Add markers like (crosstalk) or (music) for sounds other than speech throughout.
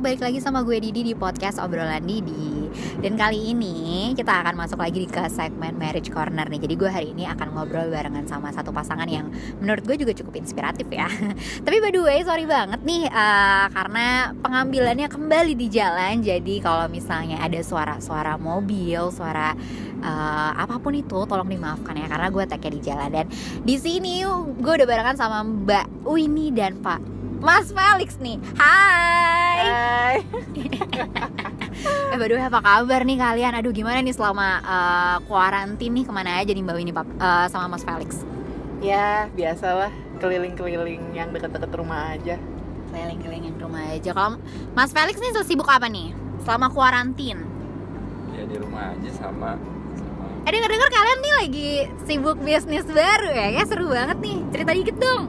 balik lagi sama gue Didi di podcast obrolan Didi Dan kali ini kita akan masuk lagi ke segmen marriage corner nih Jadi gue hari ini akan ngobrol barengan sama satu pasangan yang menurut gue juga cukup inspiratif ya (laughs) Tapi by the way sorry banget nih eh, karena pengambilannya kembali di jalan Jadi kalau misalnya ada suara-suara mobil, suara eh, apapun itu tolong dimaafkan ya Karena gue tag di jalan dan di sini gue udah barengan sama Mbak Winnie dan Pak Mas Felix nih Hai Hai. Eh by the way, apa kabar nih kalian? Aduh gimana nih selama eh, kuarantin nih kemana aja nih Mbak Winnie Pak- eh, sama Mas Felix? Ya, biasalah keliling-keliling yang deket-deket rumah aja. Keliling-kelilingin rumah aja. Kalau Mas Felix nih sibuk apa nih selama kuarantin? ya di rumah aja sama sama Eh denger-denger kalian nih lagi sibuk bisnis baru ya? Kayak seru banget nih. Cerita dikit dong.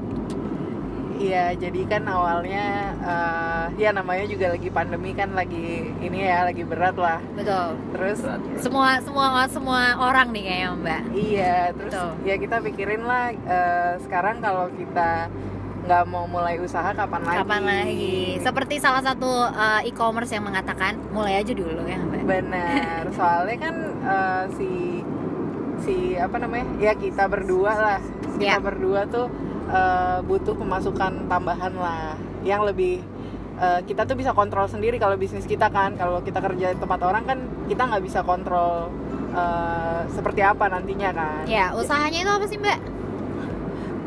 Iya, jadi kan awalnya eh, ya namanya juga lagi pandemi kan lagi ini ya lagi berat lah. Betul. Terus berat berat. Semua semua semua orang nih kayaknya Mbak. iya, terus Betul. ya kita pikirin lah eh, sekarang kalau kita nggak mau mulai usaha kapan lagi? Kapan lagi? Seperti salah satu eh, e-commerce yang mengatakan mulai aja dulu ya Mbak. Benar, soalnya kan eh, si si apa namanya ya kita berdua lah kita Ya. berdua tuh eh, butuh pemasukan tambahan lah yang lebih eh, kita tuh bisa kontrol sendiri kalau bisnis kita kan kalau kita kerja di tempat orang kan kita nggak bisa kontrol eh, seperti apa nantinya kan Ya, Ya usahanya itu apa sih Mbak?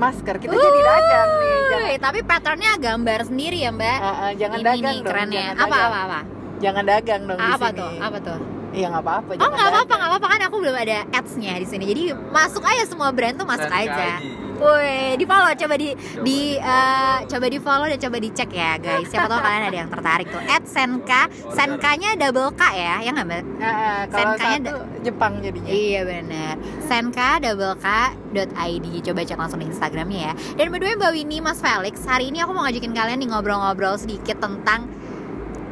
masker kita jadi Uh. dagang nih jangan Wuih, tapi patternnya gambar sendiri ya Mbak. eh, eh, jangan Ini dagang nih, dong keren ya. jangan Apa dagang. apa apa? jangan dagang dong di apa sini tuh? Apa tuh? ya nggak apa-apa Oh jangan nggak apa-apa, dagang. nggak apa-apa kan aku belum ada ads-nya di sini. Jadi masuk aja semua brand tuh masuk Keren aja. kali. Woi, di follow coba di Coba di di-follow. eh, coba di follow dan coba dicek ya guys. Siapa (laughs) tahu kalian ada yang tertarik tuh. At Senka, Order. Senkanya double K ya, ya nggak Mbak? Eh, eh, kalau Senkanya satu Jepang jadinya Iya benar. Senka double K.id. Coba cek langsung di Instagramnya ya. Dan berdua Mbak Winnie, Mas Felix, hari ini aku mau ngajakin kalian nih ngobrol-ngobrol sedikit tentang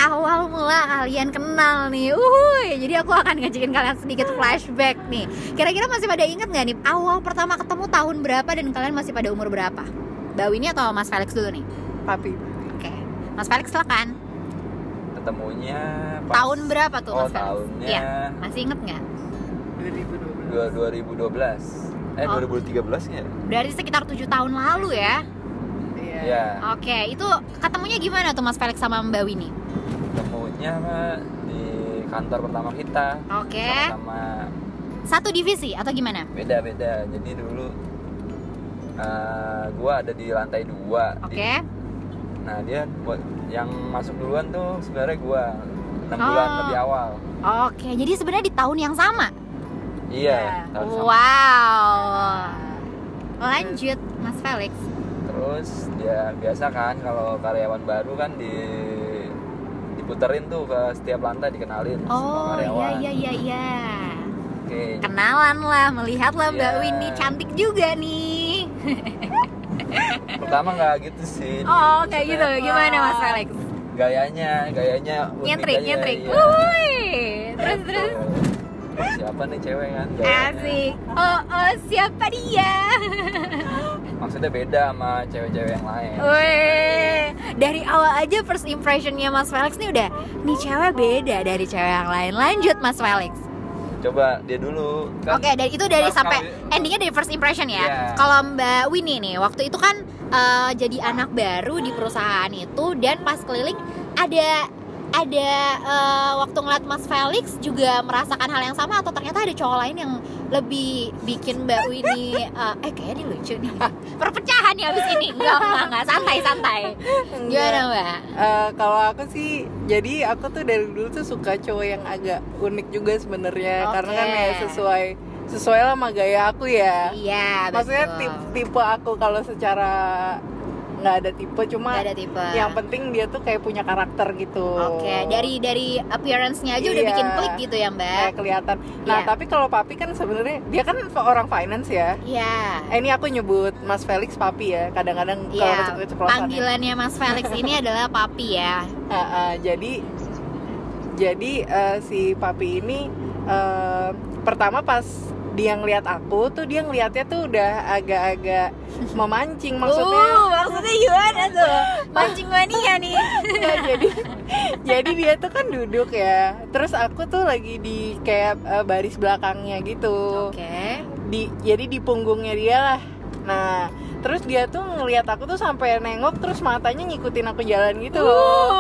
awal mula kalian kenal nih. Uhuy, jadi aku akan ngajakin kalian sedikit flashback nih. Kira-kira masih pada inget nggak nih awal pertama ketemu tahun berapa dan kalian masih pada umur berapa? Mbak Winnie atau Mas Felix dulu nih? papi Oke. Mas Felix silakan. ketemunya pas- Tahun berapa tuh oh Mas Felix? tahunnya Iya. Masih inget nggak? 2012 dua- 2012 eh Oh. 2013 ya Berarti sekitar tujuh tahun lalu ya. Iya. ya Oke, itu ketemunya gimana tuh Mas Felix sama Mbak Winnie? ketemunya mah di kantor pertama kita Oke. sama-sama Satu divisi atau gimana? beda beda jadi dulu eh, gua ada di lantai dua Oke. Di- nah dia buat- yang masuk duluan tuh sebenarnya gua 6 Oh. bulan lebih awal Oke, jadi sebenarnya di tahun yang sama. iya Ya. tahun sama. Iya. Wow. Lanjut Mas Felix. terus dia biasa kan kalau karyawan baru kan di diputerin tuh ke setiap lantai dikenalin sama Oh, iya karyawan iya iya iya. oke Kenalan lah, melihatlah Mbak Iya. Winnie cantik juga nih. pertama nggak gitu sih Oh, kayak gitu. Maksudnya Gimana Mas Felix? gayanya gayanya unik Nyentrik, aja, nyentrik. iya. Wuih. Terus terus Tuh, siapa nih cewek kan gayanya. asik. Oh, oh, siapa dia? (laughs) maksudnya beda sama cewek-cewek yang lain Weh, dari awal aja first impressionnya Mas Felix nih udah nih cewek beda dari cewek yang lain. Lanjut Mas Felix. coba dia dulu kan Oke, dari itu dari pas sampai kali- endingnya dari first impression ya. Iya. Kalau Mbak Winnie nih waktu itu kan eh, jadi anak baru di perusahaan itu dan pas keliling ada ada eh, waktu ngeliat Mas Felix juga merasakan hal yang sama atau ternyata ada cowok lain yang lebih bikin Mbak Winnie eh, eh kayaknya dia lucu nih (laughs) perpecahan ya abis ini enggak enggak, enggak. santai santai Gimana mbak? Eh, kalau aku sih, jadi aku tuh dari dulu tuh suka cowok yang agak unik juga sebenarnya, Oke. karena kan ya sesuai sesuai lah sama gaya aku ya. Iya betul Maksudnya tipe, tipe aku kalau secara nggak ada tipe, cuma Nggak ada tipe yang penting dia tuh kayak punya karakter gitu. Oke dari dari appearance-nya aja udah Iya. bikin klik gitu ya mbak kayak kelihatan. Nah Iya. tapi kalau papi kan sebenarnya dia kan orang finance ya. Iya Eh, ini aku nyebut Mas Felix papi ya, kadang-kadang Iya kalau keceplosan. ya. panggilannya Mas Felix (laughs) ini adalah papi ya Ah, ah, jadi jadi eh, si papi ini eh, pertama pas dia ngelihat aku tuh dia ngelihatnya tuh udah agak-agak memancing maksudnya Uh, maksudnya gimana tuh? Mancing mania nih. Nah, jadi jadi dia tuh kan duduk ya terus aku tuh lagi di kayak eh, baris belakangnya gitu Oke. di jadi di punggungnya dia lah nah terus dia tuh ngelihat aku tuh sampai nengok terus matanya ngikutin aku jalan gitu loh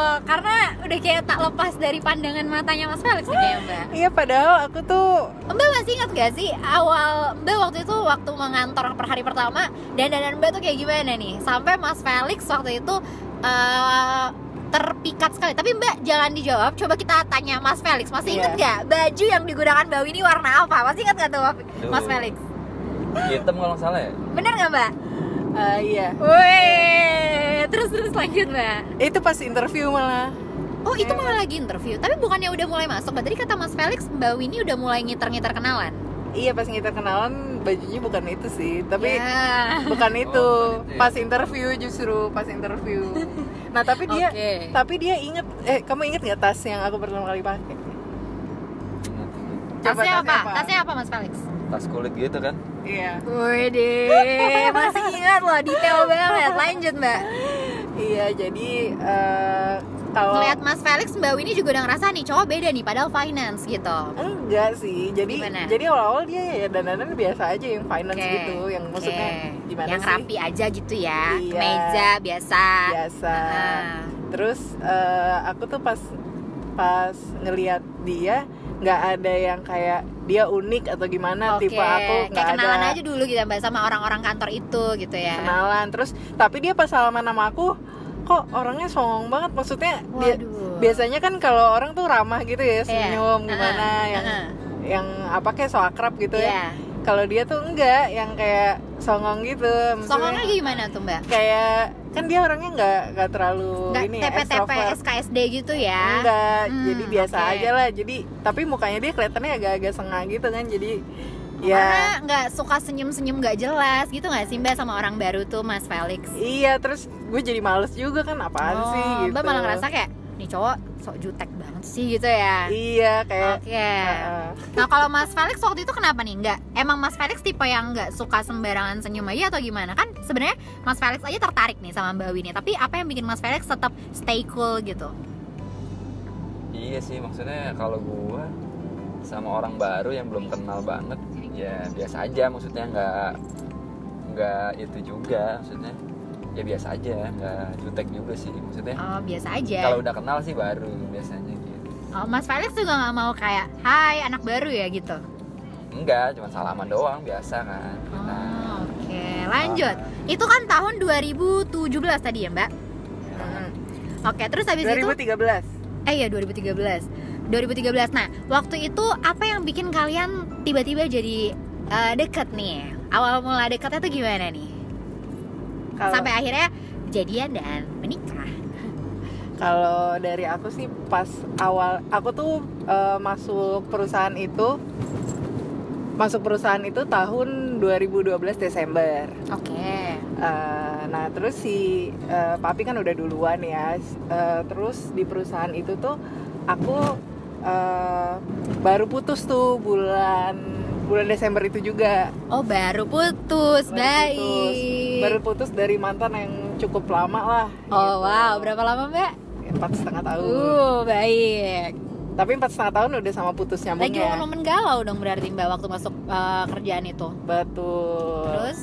Uh, karena udah kayak tak lepas dari pandangan matanya Mas Felix nih kayaknya, Mbak. iya padahal aku tuh Mbak masih ingat gak sih awal Mbak waktu itu waktu mengantor per hari pertama dan danan Mbak tuh kayak gimana nih? Sampai Mas Felix waktu itu eh, terpikat sekali. Tapi Mbak jangan dijawab. Coba kita tanya Mas Felix. Iya. Masih ingat nggak baju yang digunakan Mbak Winnie warna apa? Masih ingat nggak tuh Mas Duh. Felix? hitam kalau nggak salah ya Bener nggak Mbak? eh, iya Wih, terus terus lanjut Mbak. itu pas interview malah Oh itu Iya. malah lagi interview. Tapi bukannya udah mulai masuk? Mbak tadi kata Mas Felix Mbak Winnie udah mulai ngiter-ngiter kenalan. iya pas ngiter kenalan bajunya bukan itu sih tapi Ya. (laughs) bukan itu bukan itu ya. pas interview justru pas interview nah tapi dia Oke. tapi dia inget eh kamu inget nggak tas yang aku pertama kali pakai Coba Tasnya tasnya apa? apa? Tasnya apa Mas Felix? tas kulit gitu kan iya Wede, masih ingat loh, detail banget. Lanjut mbak. iya jadi eh, kalau Ngeliat Mas Felix, Mbak Winnie juga udah ngerasa nih cowok beda nih, padahal finance gitu. enggak sih jadi Gimana? jadi awal-awal dia ya dandanan biasa aja yang finance Oke, gitu yang oke. maksudnya gimana Yang sih rapi ya? aja gitu ya, Iya. meja biasa. biasa Ah. terus eh, aku tuh pas pas ngelihat dia nggak ada yang kayak dia unik atau gimana Oke, Nah, tipe aku nggak kayak ada kenalan aja dulu gitu mbak sama orang-orang kantor itu gitu ya. kenalan terus tapi dia pas salaman sama aku kok orangnya songong banget maksudnya dia- Waduh. biasanya kan kalau orang tuh ramah gitu ya senyum Iya. gimana Ah, yang ah. yang apa kayak so akrab gitu Iya. ya kalau dia tuh enggak yang kayak songong gitu maksudnya Songongnya gimana tuh mbak? kayak kan dia orangnya nggak nggak terlalu Nggak ini ya, TP-TP extrovert. SKSD gitu ya? enggak Hmm, jadi biasa oke. aja lah jadi tapi mukanya dia kelihatannya agak-agak sengah gitu kan jadi ya Karena nggak suka senyum-senyum nggak jelas gitu nggak sih mbak sama orang baru tuh Mas Felix? iya terus gue jadi males juga kan apaan oh, sih gitu Mbak malah ngerasa kayak nih cowok sok jutek banget sih gitu ya. iya kayak Oke. Heeh. Nah kalau Mas Felix waktu itu kenapa nih nggak? Emang Mas Felix tipe yang nggak suka sembarangan senyum aja atau gimana? Kan sebenarnya Mas Felix aja tertarik nih sama Mbak Winnie. Tapi apa yang bikin Mas Felix tetap stay cool gitu? Iya sih maksudnya kalau gua sama orang baru yang belum kenal banget ya biasa aja maksudnya nggak nggak itu juga maksudnya ya biasa aja nggak jutek juga sih maksudnya Oh biasa aja. kalau udah kenal sih baru biasanya gitu Oh, Mas Felix juga nggak mau kayak Hai anak baru ya gitu. enggak cuma salaman doang biasa kan kita Oh, Oke lanjut. Itu kan tahun 2017 tadi ya Mbak. Hmm, ya. Hmm, Oke terus habis itu 2013 Eh ya 2013 2013 Nah waktu itu apa yang bikin kalian tiba-tiba jadi eh, deket nih? Awal mula deketnya tuh gimana nih? kalau Sampai akhirnya jadian dan menikah kalau dari aku sih pas awal aku tuh eh, masuk perusahaan itu masuk perusahaan itu tahun 2012 Desember Oke Eh, nah terus si eh, papi kan udah duluan ya Eh, terus di perusahaan itu tuh aku eh, baru putus tuh bulan bulan Desember itu juga Oh baru putus, Baru baik putus. baru putus dari mantan yang cukup lama lah Oh gitu. wow, berapa lama mbak? empat setengah tahun Uh, baik tapi empat setengah tahun udah sama putus Lagi nyambungnya momen galau dong berarti mbak waktu masuk eh, kerjaan itu betul Terus?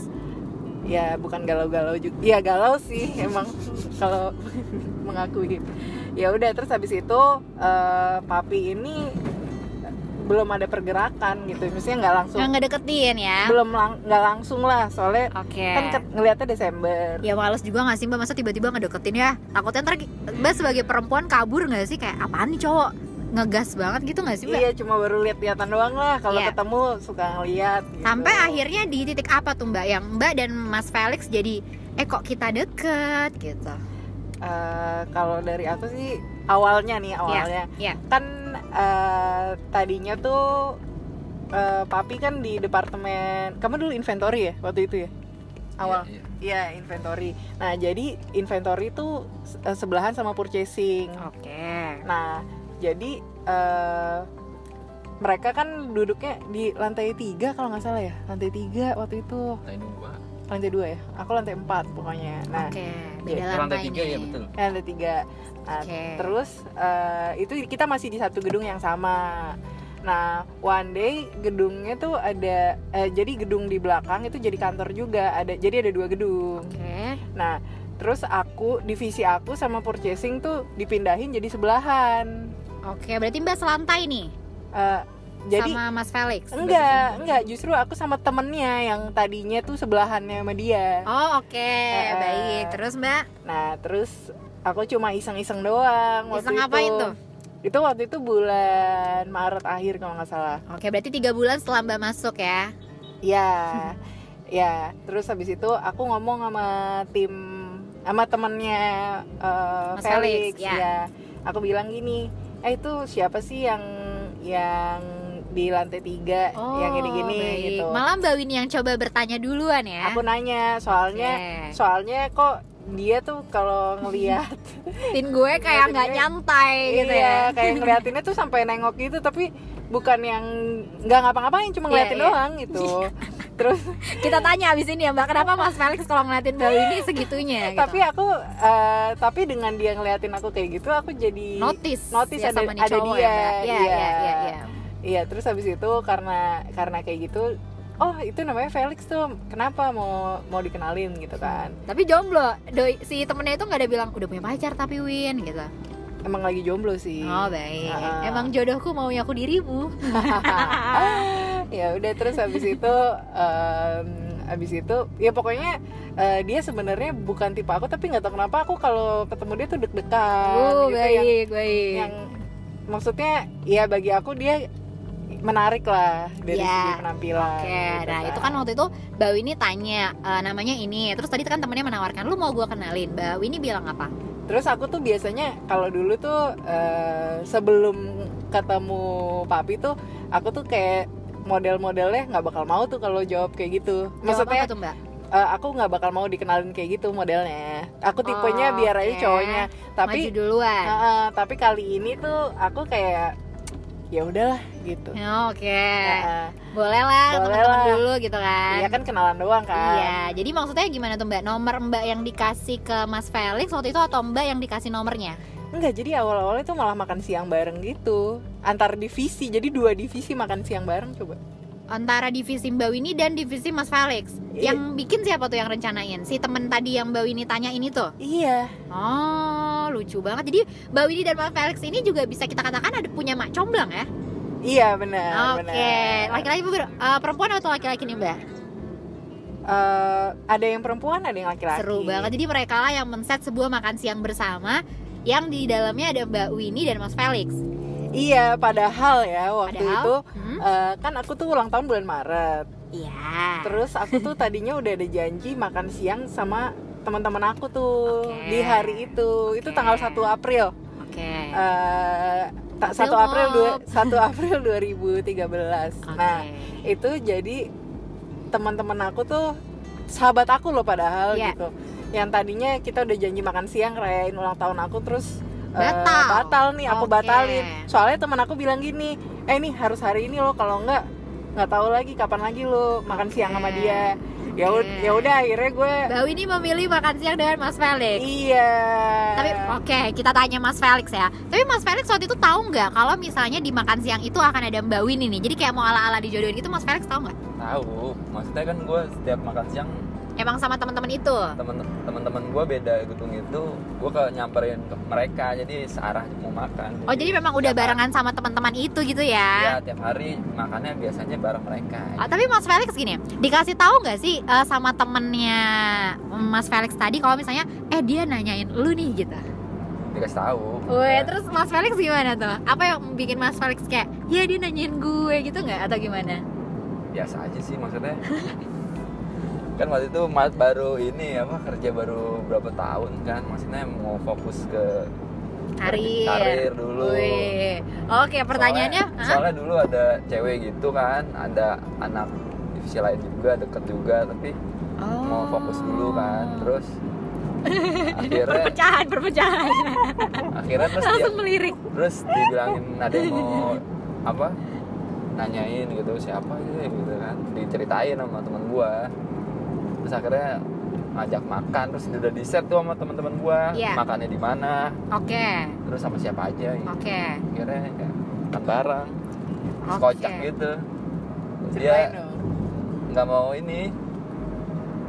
ya bukan galau-galau juga ya galau sih (laughs) emang kalau mengakui ya udah terus habis itu eh, papi ini belum ada pergerakan gitu maksudnya nggak langsung Nggak deketin ya? belum lang- nggak langsung lah soalnya Oke kan ke- ngeliatnya Desember ya males juga gak sih mbak masa tiba-tiba ngedeketin ya takutnya ntar ki- mbak sebagai perempuan kabur gak sih kayak apaan nih cowok ngegas banget gitu gak sih mbak iya cuma baru lihat-lihatan doang lah kalau Iya. ketemu suka ngeliat gitu. sampai akhirnya di titik apa tuh mbak yang mbak dan mas Felix jadi eh kok kita deket gitu Eh, kalau dari aku sih awalnya nih awalnya iya. kan eh, tadinya tuh eh, papi kan di departemen kamu dulu inventory ya waktu itu ya awal Iya, iya. iya inventory nah jadi inventory tuh se- Oh. eh, sebelahan sama purchasing oke nah jadi Nah, eh, mereka kan duduknya di lantai tiga kalau nggak salah ya lantai tiga waktu itu lantai dua lantai dua ya aku lantai empat pokoknya nah eh, Oke, Eh, beda lantai, lantai tiga nih. ya betul lantai tiga iya, Nah, Oke. Terus eh, itu kita masih di satu gedung yang sama. Nah, one day gedungnya tuh ada eh, jadi gedung di belakang itu jadi kantor juga. Ada jadi ada dua gedung. Oke. Nah, terus aku divisi aku sama purchasing tuh dipindahin jadi sebelahan. Oke, berarti Mbak selantai nih Eh, jadi sama Mas Felix. enggak, enggak justru aku sama temennya yang tadinya tuh sebelahannya sama dia. Oh, oke. Eh, Baik. Terus Mbak, Nah, terus aku cuma iseng-iseng doang waktu bisa itu. ngapain tuh? Itu waktu itu bulan Maret akhir kalau nggak salah. Oke, berarti tiga bulan setelah Mbak masuk ya. Ya, ya. Terus habis itu aku ngomong sama tim, sama temennya eh, Mas Felix, Felix, ya. Aku bilang gini, eh itu siapa sih yang yang di lantai tiga Oh, yang gini-gini baik. gitu. Malah Mbak Win yang coba bertanya duluan ya. Aku nanya, soalnya, Oke. soalnya kok dia tuh kalau ngelihat Tin gue (laughs) kayak nggak Ngeliatin gue. nyantai gitu ya. iya, kayak ngeliatinnya tuh sampai nengok gitu tapi bukan yang nggak ngapa-ngapain Iya, cuma ngeliatin (laughs) iya. doang gitu terus Kita tanya abis ini ya Mbak, kenapa Mas Felix kalau ngeliatin Mbak Wini segitunya? gitu? tapi ya, aku eh, tapi dengan dia ngeliatin aku kayak gitu aku jadi notice, notice ya ada- sama nih ada cowok dia, ya Mbak. Iya, iya. iya, iya, iya. iya terus habis itu karena karena kayak gitu oh itu namanya Felix tuh kenapa mau mau dikenalin gitu kan Tapi jomblo, doi- si temennya itu nggak ada bilang udah punya pacar tapi Win gitu. emang lagi jomblo sih Oh baik. Ah. Emang jodohku maunya aku dirimu. (laughs) ya udah terus habis itu em, habis itu ya pokoknya eh, dia sebenarnya bukan tipe aku tapi nggak tahu kenapa aku kalau ketemu dia tuh deg-degan (laughs) oh gitu, yang, baik, baik. yang maksudnya ya bagi aku dia menarik lah dari Ya, segi penampilan Oke, gitu nah itu kan waktu itu Mbak Wini tanya e, namanya ini, terus tadi kan temennya menawarkan, lu mau gua kenalin, Mbak Wini bilang apa? Terus aku tuh biasanya kalau dulu tuh eh, sebelum ketemu papi tuh aku tuh kayak model-modelnya nggak bakal mau tuh kalau jawab kayak gitu. Jawab Maksudnya apa tuh Mbak? eh, aku nggak bakal mau dikenalin kayak gitu modelnya. Aku tipenya Oh, biar aja oke. cowoknya. Tapi Maju duluan. eh, eh, tapi kali ini tuh aku kayak ya udahlah (laughs) gitu. Ya, Oke, Eh, eh. boleh lah Boleh teman-teman lah. dulu gitu kan. Iya kan kenalan doang kan. Iya, jadi maksudnya gimana tuh Mbak? Nomor Mbak yang dikasih ke Mas Felix waktu itu atau Mbak yang dikasih nomornya? Enggak, jadi awal-awalnya tuh malah makan siang bareng gitu. Antar divisi, jadi dua divisi makan siang bareng coba. Antara divisi Mbak Wini dan divisi Mas Felix. Iya. Yang bikin siapa tuh yang rencanain? Si temen tadi yang Mbak Wini tanya ini tuh. Iya. Oh, lucu banget. Jadi Mbak Wini dan Mas Felix ini juga bisa kita katakan ada punya mak comblang ya? Iya benar. Oke, benar. laki-laki ber- eh, perempuan atau laki-laki nih Mbak? Eh, ada yang perempuan, ada yang laki-laki. Seru banget. Jadi mereka lah yang men-set sebuah makan siang bersama yang di dalamnya ada Mbak Wini dan Mas Felix. Iya, padahal ya waktu Padahal, itu hmm, eh, kan aku tuh ulang tahun bulan Maret. iya. Terus aku tuh tadinya udah ada janji makan siang sama teman-teman aku tuh Oke. di hari itu. Itu Oke. tanggal 1 April. Oke. Eh, ta- 1 April April dua- Mop. 1 April 2013. (laughs) Oke. Nah, itu jadi teman-teman aku tuh sahabat aku loh padahal Iya. gitu yang tadinya kita udah janji makan siang rayain ulang tahun aku terus eh, Batal. batal nih aku Oke. batalin soalnya teman aku bilang gini eh ini harus hari ini loh kalau enggak nggak tahu lagi kapan lagi lo makan siang sama Oke. dia ya ud- Oke. ya udah akhirnya gue Mbak Wini memilih makan siang dengan Mas Felix. iya Tapi oh, oke, kita tanya Mas Felix ya. Tapi Mas Felix waktu itu tahu nggak kalau misalnya di makan siang itu akan ada Mbak Wini nih. Jadi kayak mau ala-ala dijodohin gitu Mas Felix tahu nggak? tahu maksudnya kan gue setiap makan siang Emang sama teman-teman itu. temen teman-teman gue beda gedung itu gue ke nyamperin ke mereka jadi searah mau makan Oh, jadi memang udah tiap hari- barengan sama teman-teman itu gitu ya. ya tiap hari makannya biasanya bareng mereka gitu. Ah, tapi Mas Felix gini, dikasih tahu nggak sih eh, sama temennya Mas Felix tadi kalau misalnya eh dia nanyain lu nih gitu. Iya. dikasih tahu Weh, Ya. terus Mas Felix gimana tuh? Apa yang bikin Mas Felix kayak ya dia nanyain gue gitu nggak atau gimana? biasa aja sih maksudnya kan waktu itu Mat baru ini apa kerja baru berapa tahun kan maksudnya mau fokus ke karir, Karir dulu. Wih. Oke, pertanyaannya, soalnya, hah? soalnya dulu ada cewek gitu kan ada anak divisi lain juga deket juga tapi Oh. mau fokus dulu kan terus (laughs) akhirnya perpecahan, perpecahan. Iya. akhirnya terus dia, Langsung melirik. (laughs) terus dibilangin ada yang mau apa nanyain gitu siapa sih gitu kan diceritain sama teman gua terus akhirnya ngajak makan terus udah di set tuh sama teman-teman gua Iya. makannya di mana Oke, terus sama siapa aja gitu. oke, akhirnya ya, makan bareng Terus oke. kocak gitu Ceritain dia dong. nggak mau ini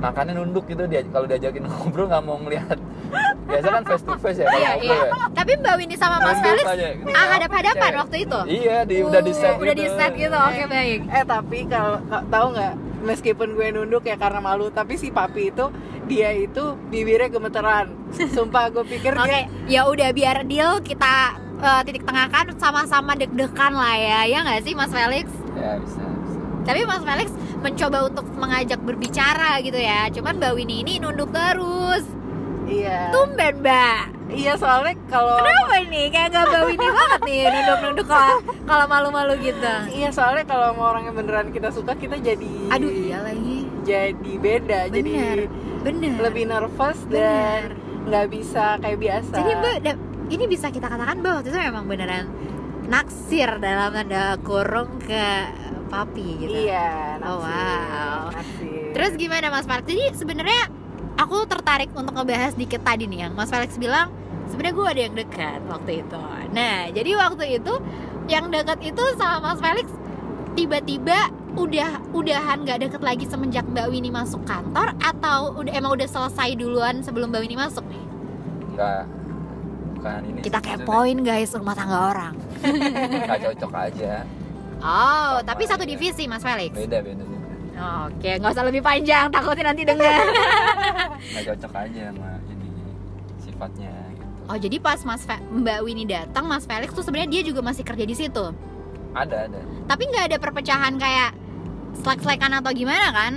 makannya nunduk gitu dia kalau diajakin (laughs) ngobrol nggak mau ngelihat biasa kan face to face ya kalau Iya, iya. ngobrol ya. Tapi Mbak Windy sama Mas Nunduk Felis aja, gitu. ah, hadap-hadapan Cewek. waktu itu. iya di, udah di set Uh, Udah di set gitu. Oke, baik. Eh tapi kalau ka- tahu nggak meskipun gue nunduk ya karena malu tapi si papi itu dia itu bibirnya gemeteran. Sumpah gue pikir Oke, dia ya udah biar deal kita eh, titik tengah kan sama-sama deg-degan lah ya, ya nggak sih Mas Felix? ya bisa, bisa. Tapi Mas Felix mencoba untuk mengajak berbicara gitu ya, cuman Mbak Winnie ini nunduk terus. iya. Tumben Mbak. Iya soalnya kalau Kenapa nih? Kayak nggak Mbak Winnie banget nih nunduk-nunduk kalau kalau malu-malu gitu. iya soalnya kalau sama orang yang beneran kita suka kita jadi Aduh iya lagi. jadi beda jadi Bener, bener. lebih nervous dan bener. nggak bisa kayak biasa. Jadi Mbak, gitu. da- ini bisa kita katakan Mbak waktu itu memang beneran naksir dalam tanda kurung ke papi gitu. Iya. Oh, naksir, wow. naksir. Terus gimana Mas Felix? Jadi sebenarnya aku tertarik untuk ngebahas dikit tadi nih yang Mas Felix bilang sebenarnya gue ada yang dekat waktu itu. Nah, jadi waktu itu yang dekat itu sama Mas Felix tiba-tiba udah udahan nggak deket lagi semenjak Mbak Winnie masuk kantor atau udah emang udah selesai duluan sebelum Mbak Winnie masuk nih? nggak bukan ini Kita sih, Ya, maksudnya kepoin guys rumah tangga orang. nggak cocok (laughs) aja Oh, Sama tapi satu aja. divisi Mas Felix. beda beda juga Oke, nggak usah lebih panjang, takutnya nanti dengar. nggak cocok aja sama ini sifatnya gitu Oh, jadi pas Mas Fe- Mbak Winnie datang, Mas Felix tuh sebenarnya dia juga masih kerja di situ. ada ada Tapi nggak ada perpecahan kayak selek-selekan atau gimana kan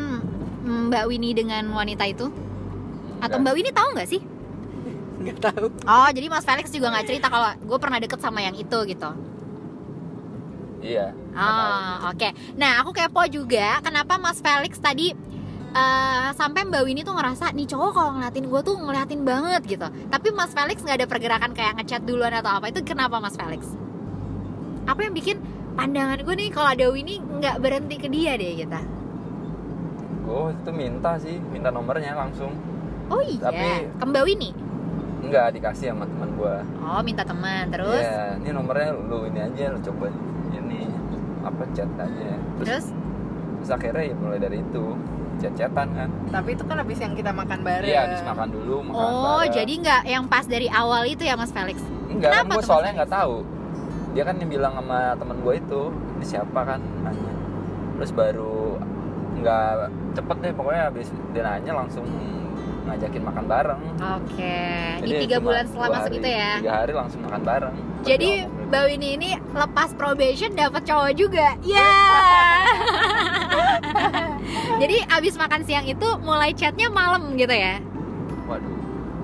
Mbak Winnie dengan wanita itu? Atau Nggak. Mbak Winnie tahu nggak sih? nggak tahu. Oh, jadi Mas Felix juga nggak cerita kalau gue pernah deket sama yang itu gitu. iya nggak tahu. Oh, oke. Nah, aku kepo juga kenapa Mas Felix tadi eh, sampai Mbak Winnie tuh ngerasa nih cowok kalau ngeliatin gue tuh ngeliatin banget gitu. Tapi Mas Felix nggak ada pergerakan kayak ngechat duluan atau apa itu kenapa Mas Felix? Apa yang bikin pandangan gue nih kalau ada Winnie nggak berhenti ke dia deh gitu? gue itu minta sih minta nomornya langsung Oh iya, Tapi- ke Mbak Winnie. nggak dikasih sama teman gue Oh minta teman terus, Iya, ini nomornya lu ini aja lu coba ini apa chat aja terus terus akhirnya ya mulai dari itu chat-chatan kan Tapi itu kan habis yang kita makan bareng. iya habis makan dulu makan oh bareng. jadi nggak yang pas dari awal itu ya Mas Felix? enggak kan kenapa gue tuh, soalnya Mas? nggak tahu dia kan yang bilang sama teman gue itu ini siapa kan nanya terus baru nggak cepet deh pokoknya habis dia nanya langsung ngajakin makan bareng Oke, Nah, Jadi ini tiga cuma bulan dua setelah masuk hari- itu ya? tiga hari langsung makan bareng Jadi Berdua Mbak Winnie ini lepas probation dapat cowok juga. Ya. Jadi abis makan siang itu mulai chatnya malam gitu ya. ngobrol. waduh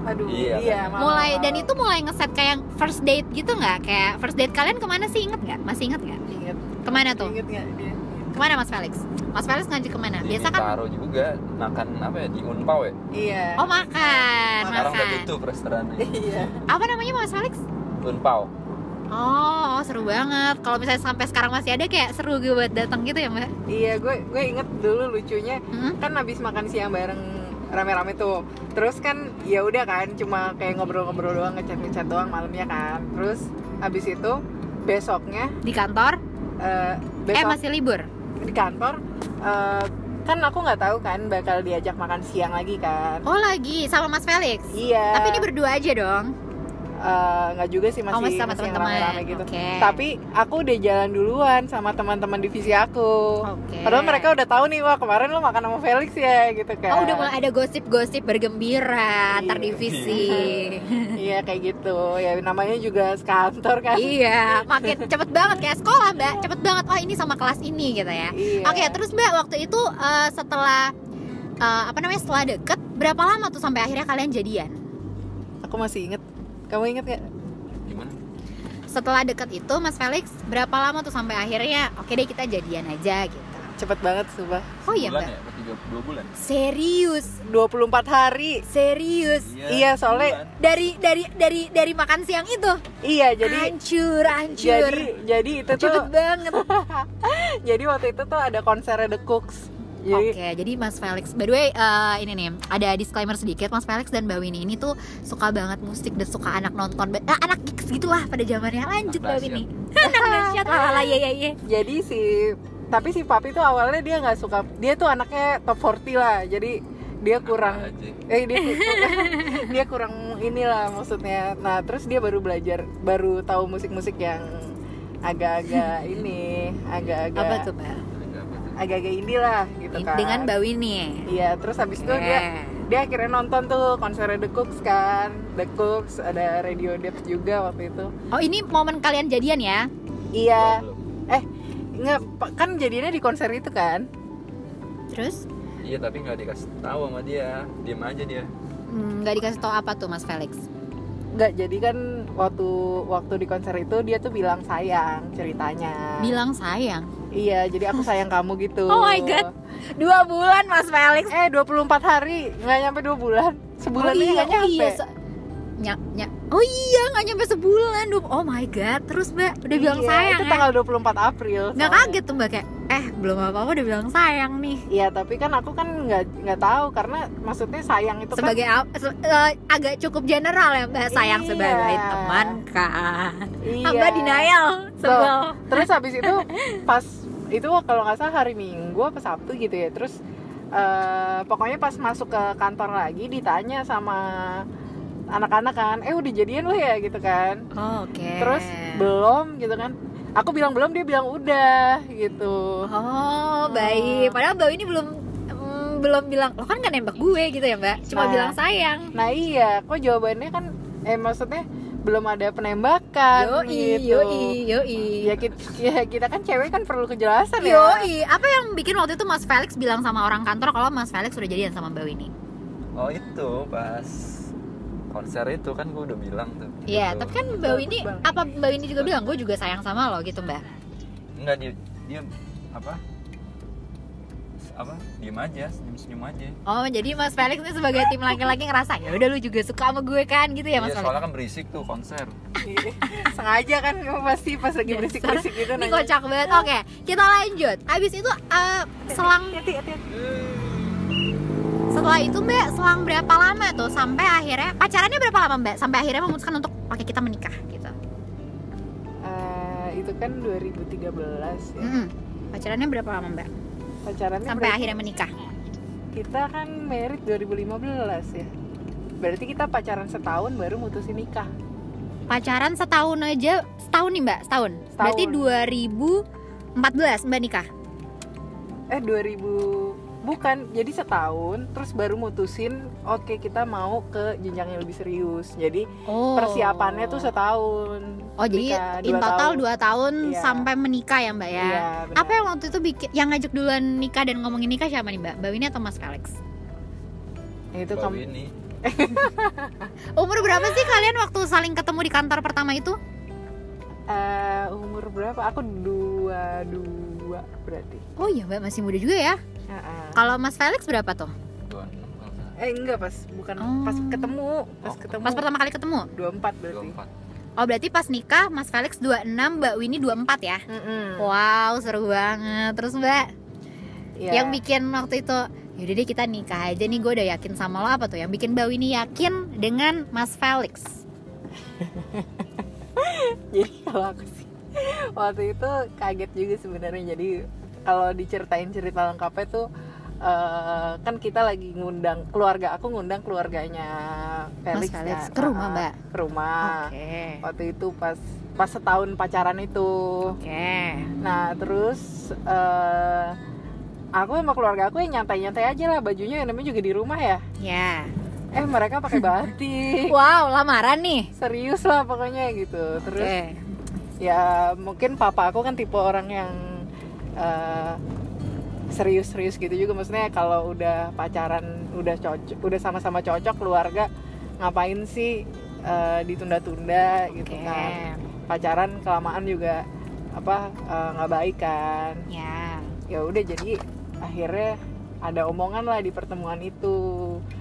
Nah, Aduh, Iya, iya. kan. malam. Mulai dan itu mulai ngeset kayak first date gitu nggak? Kayak first date kalian kemana sih inget nggak? Masih inget nggak? Ingat, Kemana Nah, tuh? ingat nggak dia? Kemana Mas Felix? Mas Felix ngajak kemana? Di Biasa kan? Bintaro juga makan apa ya di Unpau ya Iya. Oh makan, sekarang udah makan. tutup restorannya Iya. Apa namanya Mas Felix? Unpau Oh, oh, seru banget. Kalau misalnya sampai sekarang masih ada kayak seru gue buat datang gitu ya Mbak. Iya, gue gue inget dulu lucunya Hmm? kan habis makan siang bareng rame-rame tuh. Terus kan ya udah kan cuma kayak ngobrol-ngobrol doang, ngechat-ngechat doang malamnya kan. Terus habis itu besoknya Di kantor? eh, Eh besok masih libur? di kantor eh, kan aku nggak tahu kan bakal diajak makan siang lagi kan. Oh lagi sama Mas Felix. Iya. Tapi ini berdua aja dong. Eh, nggak juga sih masih, Oh, masih sama masih yang teman-teman. rame-rame gitu. Oke. Tapi aku udah jalan duluan sama teman-teman divisi aku. Oke. Padahal mereka udah tahu nih wah kemarin lo makan sama Felix ya gitu kan. Oh udah mulai ada gosip-gosip bergembira Iya. antar divisi. Iya kayak gitu. Ya namanya juga sekantor kan. (laughs) iya, makin cepet banget kayak sekolah mbak, cepet banget. Oh ini sama kelas ini gitu ya. Iya. Oke terus mbak waktu itu eh, setelah eh, apa namanya setelah deket berapa lama tuh sampai akhirnya kalian jadian? Aku masih inget. Kamu inget gak? gimana Setelah deket itu Mas Felix berapa lama tuh sampai akhirnya oke deh kita jadian aja gitu. cepet banget sumpah Oh iya enggak? bulan ya, apa tiga dua bulan. Serius, 24 hari serius. Iya, soalnya- sebulan. Dari dari dari dari makan siang itu. iya jadi hancur, hancur. jadi jadi itu tuh Cepet banget. jadi waktu itu tuh ada konser The Cooks Oke, jadi jadi Mas Felix, by the way, eh, ini nih ada disclaimer sedikit. Mas Felix dan Mbak Winnie ini tuh suka banget musik dan suka anak nonton, ba- ah, anak gigs gitulah pada zamannya. Lanjut Mbak Anak Winnie. (laughs) anak dahsyat, lah ya ya ya. jadi si tapi si papi tuh awalnya dia nggak suka dia tuh anaknya top 40 lah jadi dia kurang Apa aja. eh dia (laughs) dia kurang inilah maksudnya nah terus dia baru belajar baru tahu musik-musik yang (laughs) agak-agak ini agak-agak Apa tuh Mbak? agak-agak inilah gitu kan Dengan Mbak Winnie. Eh. iya terus habis itu Oke. dia dia akhirnya nonton tuh konser The Cooks kan The Cooks ada Radio Dep juga waktu itu Oh ini momen kalian jadian ya? iya Belum. eh nggak kan jadinya di konser itu kan Terus Iya tapi nggak dikasih tahu sama dia, diem aja dia. Hmm, nggak dikasih tau apa tuh Mas Felix? nggak jadi kan waktu waktu di konser itu dia tuh bilang sayang ceritanya Bilang sayang. Iya, jadi aku sayang kamu gitu. Oh my God. Dua bulan Mas Felix. Eh, 24 hari, nggak nyampe 2 bulan. Sebulan aja nggak oh nyampe. iya. se- Nya- nya- oh iya nggak nyampe sebulan Duh, oh my god terus mbak udah bilang Iya, sayang Itu ya? tanggal 24 April. nggak soalnya. kaget tuh mbak kayak eh belum apa apa udah bilang sayang nih Iya, tapi kan aku kan nggak nggak tahu karena maksudnya sayang itu kan, sebagai a- se- eh, agak cukup general ya mbak sayang Iya. sebagai teman kak kan iya. mbak denial sebel Terus habis itu pas itu kalau nggak salah hari Minggu apa Sabtu gitu ya. Terus eh, pokoknya pas masuk ke kantor lagi ditanya sama anak-anak kan, eh udah jadian lu ya gitu kan. Oh, oke terus belum gitu kan aku bilang belum dia bilang udah gitu oh baik padahal mbak ini belum mm, belum bilang lo kan gak nembak gue gitu ya mbak cuma Nah. bilang sayang nah iya kok jawabannya kan eh maksudnya belum ada penembakan yoi gitu yoi yoi ya kita, ya kita kan cewek kan perlu kejelasan ya Yoi, apa yang bikin waktu itu Mas Felix bilang sama orang kantor kalau Mas Felix sudah jadian sama Mbak Winnie? Oh itu pas konser itu kan gue udah bilang tuh. Iya, Gitu. tapi kan Mbak Winnie, Bagus banget. apa Mbak Winnie juga bilang, gue juga sayang sama lo gitu Mbak? Enggak dia dia apa? Apa? Diem aja, senyum senyum aja. Oh, jadi Mas Felix ini sebagai tim laki-laki ngerasa, ya udah lu juga suka sama gue kan gitu ya Mas Iya, Felix? soalnya kan berisik tuh konser. (laughs) sengaja kan kamu pasti pas lagi berisik berisik gitu Iya, kan Ini nanya kocak banget, oke kita lanjut Abis itu eh, selang hati hati hati. setelah itu Mbak, selang berapa lama tuh sampai akhirnya Pacarannya berapa lama Mbak? Sampai akhirnya memutuskan untuk oke kita menikah gitu Eh, itu kan 2013 ya Mm-mm. Pacarannya berapa lama Mbak? Hmm. pacarannya Sampai berarti- akhirnya menikah kita kan merit 2015 ya berarti kita pacaran setahun baru mutusin nikah pacaran setahun aja setahun nih mbak setahun, berarti 2014 mbak nikah eh 2000 bukan jadi setahun terus baru mutusin oke kita mau ke jenjang yang lebih serius jadi oh persiapannya tuh setahun oh jadi Nikah in dua total tahun. 2 tahun Iya. sampai menikah ya mbak ya Iya, benar. apa yang waktu itu bikin yang ngajak duluan nikah dan ngomongin nikah siapa nih mbak mbak Winnie atau mas Felix itu Itu kamu ini umur berapa sih kalian waktu saling ketemu di kantor pertama itu eh, umur berapa aku dua dua berarti oh iya mbak masih muda juga ya Heeh. kalau mas Felix berapa tuh dua enam kalau nggak salah. eh enggak pas bukan Ah. Oh. pas ketemu pas Oh, ketemu pas pertama kali ketemu 24 Dua berarti empat. oh berarti pas nikah mas Felix 26 mbak Winnie 24 ya Mm-mm. wow seru banget terus mbak Iya. Yang bikin waktu itu Yaudah deh kita nikah aja nih gue udah yakin sama lo apa tuh Yang bikin Mbak Winnie yakin dengan Mas Felix (laughs) jadi kalau aku sih waktu itu kaget juga sebenarnya jadi kalau diceritain cerita lengkapnya tuh eh, kan kita lagi ngundang keluarga aku ngundang keluarganya Felix, Mas Felix, kan. ke rumah, Ah, Mbak? ke rumah Oke waktu itu pas pas setahun pacaran itu Oke nah terus eh, aku sama keluarga aku yang nyantai-nyantai aja lah bajunya yang namanya juga di rumah ya Ya eh mereka pakai batik (laughs) Wow lamaran nih serius lah pokoknya gitu terus Oke ya mungkin papa aku kan tipe orang yang eh, serius-serius gitu juga maksudnya kalau udah pacaran udah cocok udah sama-sama cocok keluarga ngapain sih eh, ditunda-tunda gitu Oke kan pacaran kelamaan juga apa eh, nggak baik kan Ya ya udah jadi akhirnya ada omongan lah di pertemuan itu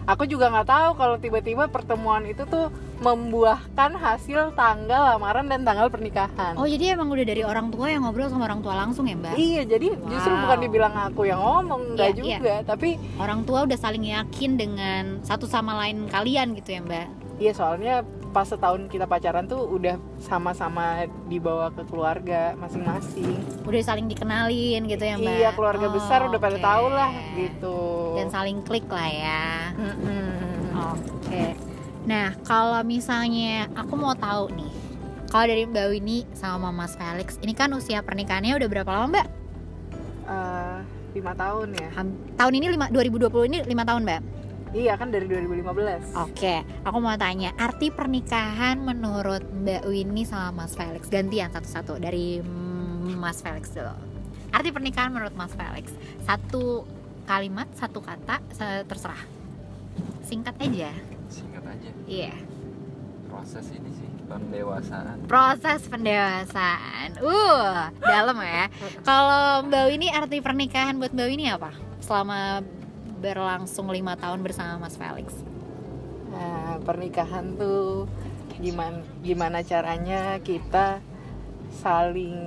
aku juga nggak tahu kalau tiba-tiba pertemuan itu tuh membuahkan hasil tanggal lamaran dan tanggal pernikahan Oh jadi emang udah dari orang tua yang ngobrol sama orang tua langsung ya mbak? iya jadi justru Wow. bukan dibilang aku yang ngomong nggak Iya, iya. juga tapi Orang tua udah saling yakin dengan satu sama lain kalian gitu ya mbak? Iya soalnya pas setahun kita pacaran tuh udah sama-sama dibawa ke keluarga masing-masing. Udah saling dikenalin gitu ya mbak? Iya keluarga Oh, besar udah pada oke. tahu lah gitu. Dan saling klik lah ya. Mm-mm. Oke. Nah, kalau misalnya aku mau tahu nih, kalau dari Mbak Winnie sama Mas Felix, ini kan usia pernikahannya udah berapa lama, Mbak? Eh, lima tahun ya. Ham- tahun ini lima- 2020 ini 5 tahun, Mbak. Iya kan dari 2015. Oke, aku mau tanya, arti pernikahan menurut Mbak Winnie sama Mas Felix gantian satu-satu dari mm, Mas Felix dulu. Arti pernikahan menurut Mas Felix satu kalimat, satu kata, se- terserah. Singkat aja. singkat aja Iya. proses ini sih pendewasaan proses pendewasaan. Uh, dalam ya. Kalau Mbak Winnie arti pernikahan buat Mbak Winnie apa? Selama berlangsung lima tahun bersama Mas Felix. Nah, pernikahan tuh gimana gimana caranya kita saling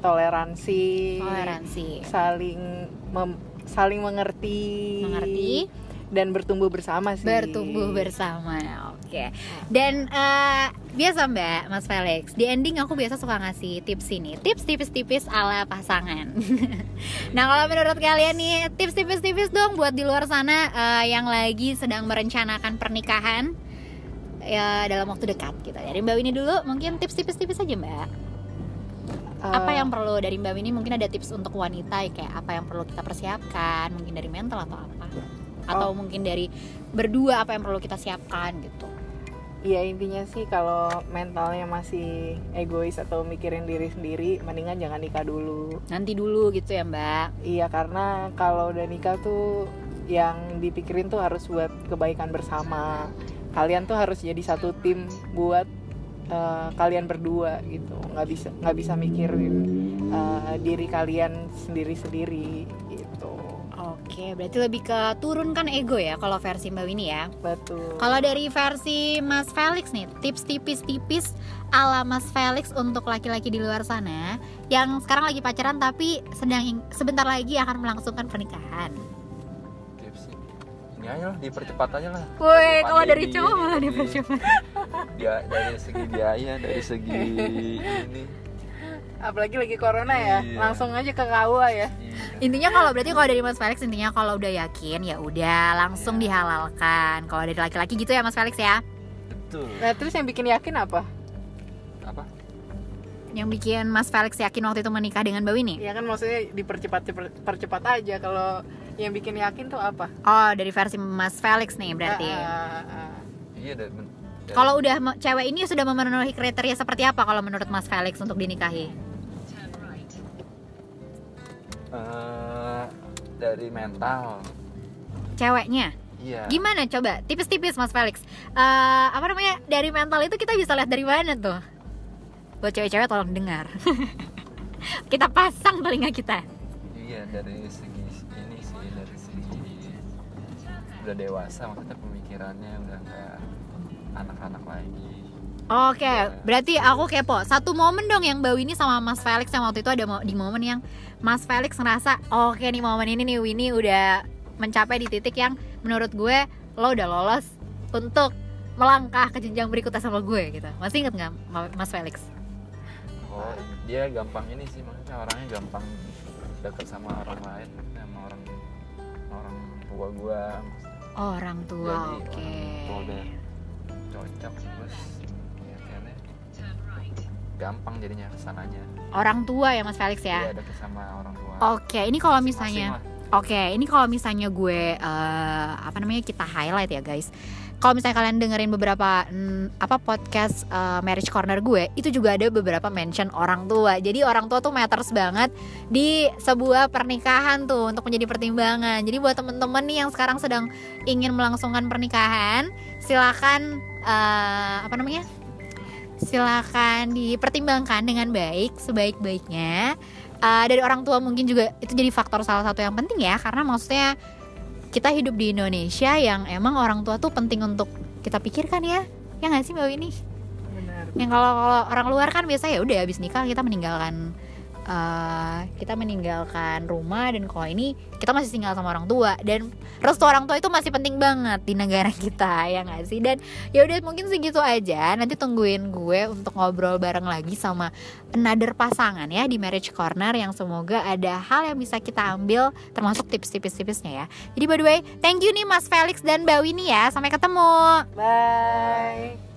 toleransi, Toleransi, saling mem- saling mengerti, mengerti, dan bertumbuh bersama sih. bertumbuh bersama. Oke. Dan eh, biasa Mbak, Mas Felix. Di ending aku biasa suka ngasih tips ini, tips tipis-tipis ala pasangan. nah kalau menurut kalian nih, tips tipis-tipis dong buat di luar sana eh, yang lagi sedang merencanakan pernikahan. ya dalam waktu dekat gitu. Dari Mbak Winnie dulu mungkin tips tipis-tipis aja Mbak. Eh, Apa yang perlu dari Mbak Winnie mungkin ada tips untuk wanita ya, kayak apa yang perlu kita persiapkan, mungkin dari mental atau apa? Atau mungkin dari berdua apa yang perlu kita siapkan gitu. ya intinya sih kalau mentalnya masih egois atau mikirin diri sendiri mendingan jangan nikah dulu Nanti dulu gitu ya Mbak. iya karena kalau udah nikah tuh yang dipikirin tuh harus buat kebaikan bersama kalian tuh harus jadi satu tim buat eh, kalian berdua gitu nggak bisa nggak bisa mikirin eh, diri kalian sendiri sendiri gitu Oke, berarti lebih ke turunkan ego ya kalau versi Mbak Winnie ya. betul Kalau dari versi Mas Felix nih, tips tipis-tipis ala Mas Felix untuk laki-laki di luar sana yang sekarang lagi pacaran tapi sedang ing- sebentar lagi akan melangsungkan pernikahan. tips sih ini aja lah dipercepat aja lah Woi, kalau Pandemi Eh, dari ini, cowok malah jadi dipercepat. dia- dari segi biaya dari segi ini apalagi lagi corona ya Iya. langsung aja ke KUA ya Iya. Intinya kalau berarti kalau dari Mas Felix intinya kalau udah yakin ya udah langsung dihalalkan. Kalau dari laki-laki gitu ya Mas Felix ya. betul nah terus yang bikin yakin apa apa Yang bikin Mas Felix yakin waktu itu menikah dengan Mbak Winnie. Ya kan maksudnya dipercepat percepat aja kalau yang bikin yakin tuh apa? Oh, dari versi Mas Felix nih berarti. Ah, ah, ah. iya dari, dari- Kalau udah me- cewek ini sudah memenuhi kriteria seperti apa kalau menurut Mas Felix untuk dinikahi? eh, dari mental Ceweknya. iya Gimana coba? Tipis-tipis Mas Felix. Eh, apa namanya? Dari mental itu kita bisa lihat dari mana tuh? Buat cewek-cewek tolong dengar. (laughs) kita pasang telinga kita. Iya dari segi ini sih dari segi udah dewasa maksudnya pemikirannya udah nggak anak-anak lagi. Oke, berarti aku kepo. Satu momen dong yang Mbak Winnie sama Mas Felix yang waktu itu ada mo- di momen yang Mas Felix ngerasa, oke nih momen ini nih Winnie udah mencapai di titik yang menurut gue lo udah lolos untuk melangkah ke jenjang berikutnya sama gue gitu. Masih inget nggak Ma- Mas Felix? Oh dia gampang ini sih maksudnya orangnya gampang dekat sama orang lain maksudnya sama orang orang tua gua maksudnya. Orang Jadi, tua, oke. Iya, orang tua udah cocok terus ya, kayaknya gampang jadinya kesananya Orang tua ya Mas Felix dia ya. dekat sama orang tua. Oke, ini kalau masing-masing misalnya lah. Oke, ini kalau misalnya gue eh, apa namanya kita highlight ya guys. Kalau misalnya kalian dengerin beberapa mm, apa podcast eh, Marriage Corner gue, itu juga ada beberapa mention orang tua. Jadi orang tua tuh matters banget di sebuah pernikahan tuh untuk menjadi pertimbangan. Jadi buat temen-temen nih yang sekarang sedang ingin melangsungkan pernikahan, silakan eh, apa namanya? Silakan dipertimbangkan dengan baik sebaik-baiknya eh, dari orang tua mungkin juga itu jadi faktor salah satu yang penting ya karena maksudnya kita hidup di Indonesia yang emang orang tua tuh penting untuk kita pikirkan ya ya nggak sih mbak Winnie benar yang kalau kalau orang luar kan biasa ya udah habis nikah kita meninggalkan eh, kita meninggalkan rumah dan kalau ini kita masih tinggal sama orang tua dan restu orang tua itu masih penting banget di negara (laughs) kita ya nggak sih dan ya udah mungkin segitu aja nanti tungguin gue untuk ngobrol bareng lagi sama another pasangan ya di marriage corner yang semoga ada hal yang bisa kita ambil termasuk tips-tips-tipsnya ya jadi by the way thank you nih Mas Felix dan Mbak Winnie ya sampai ketemu bye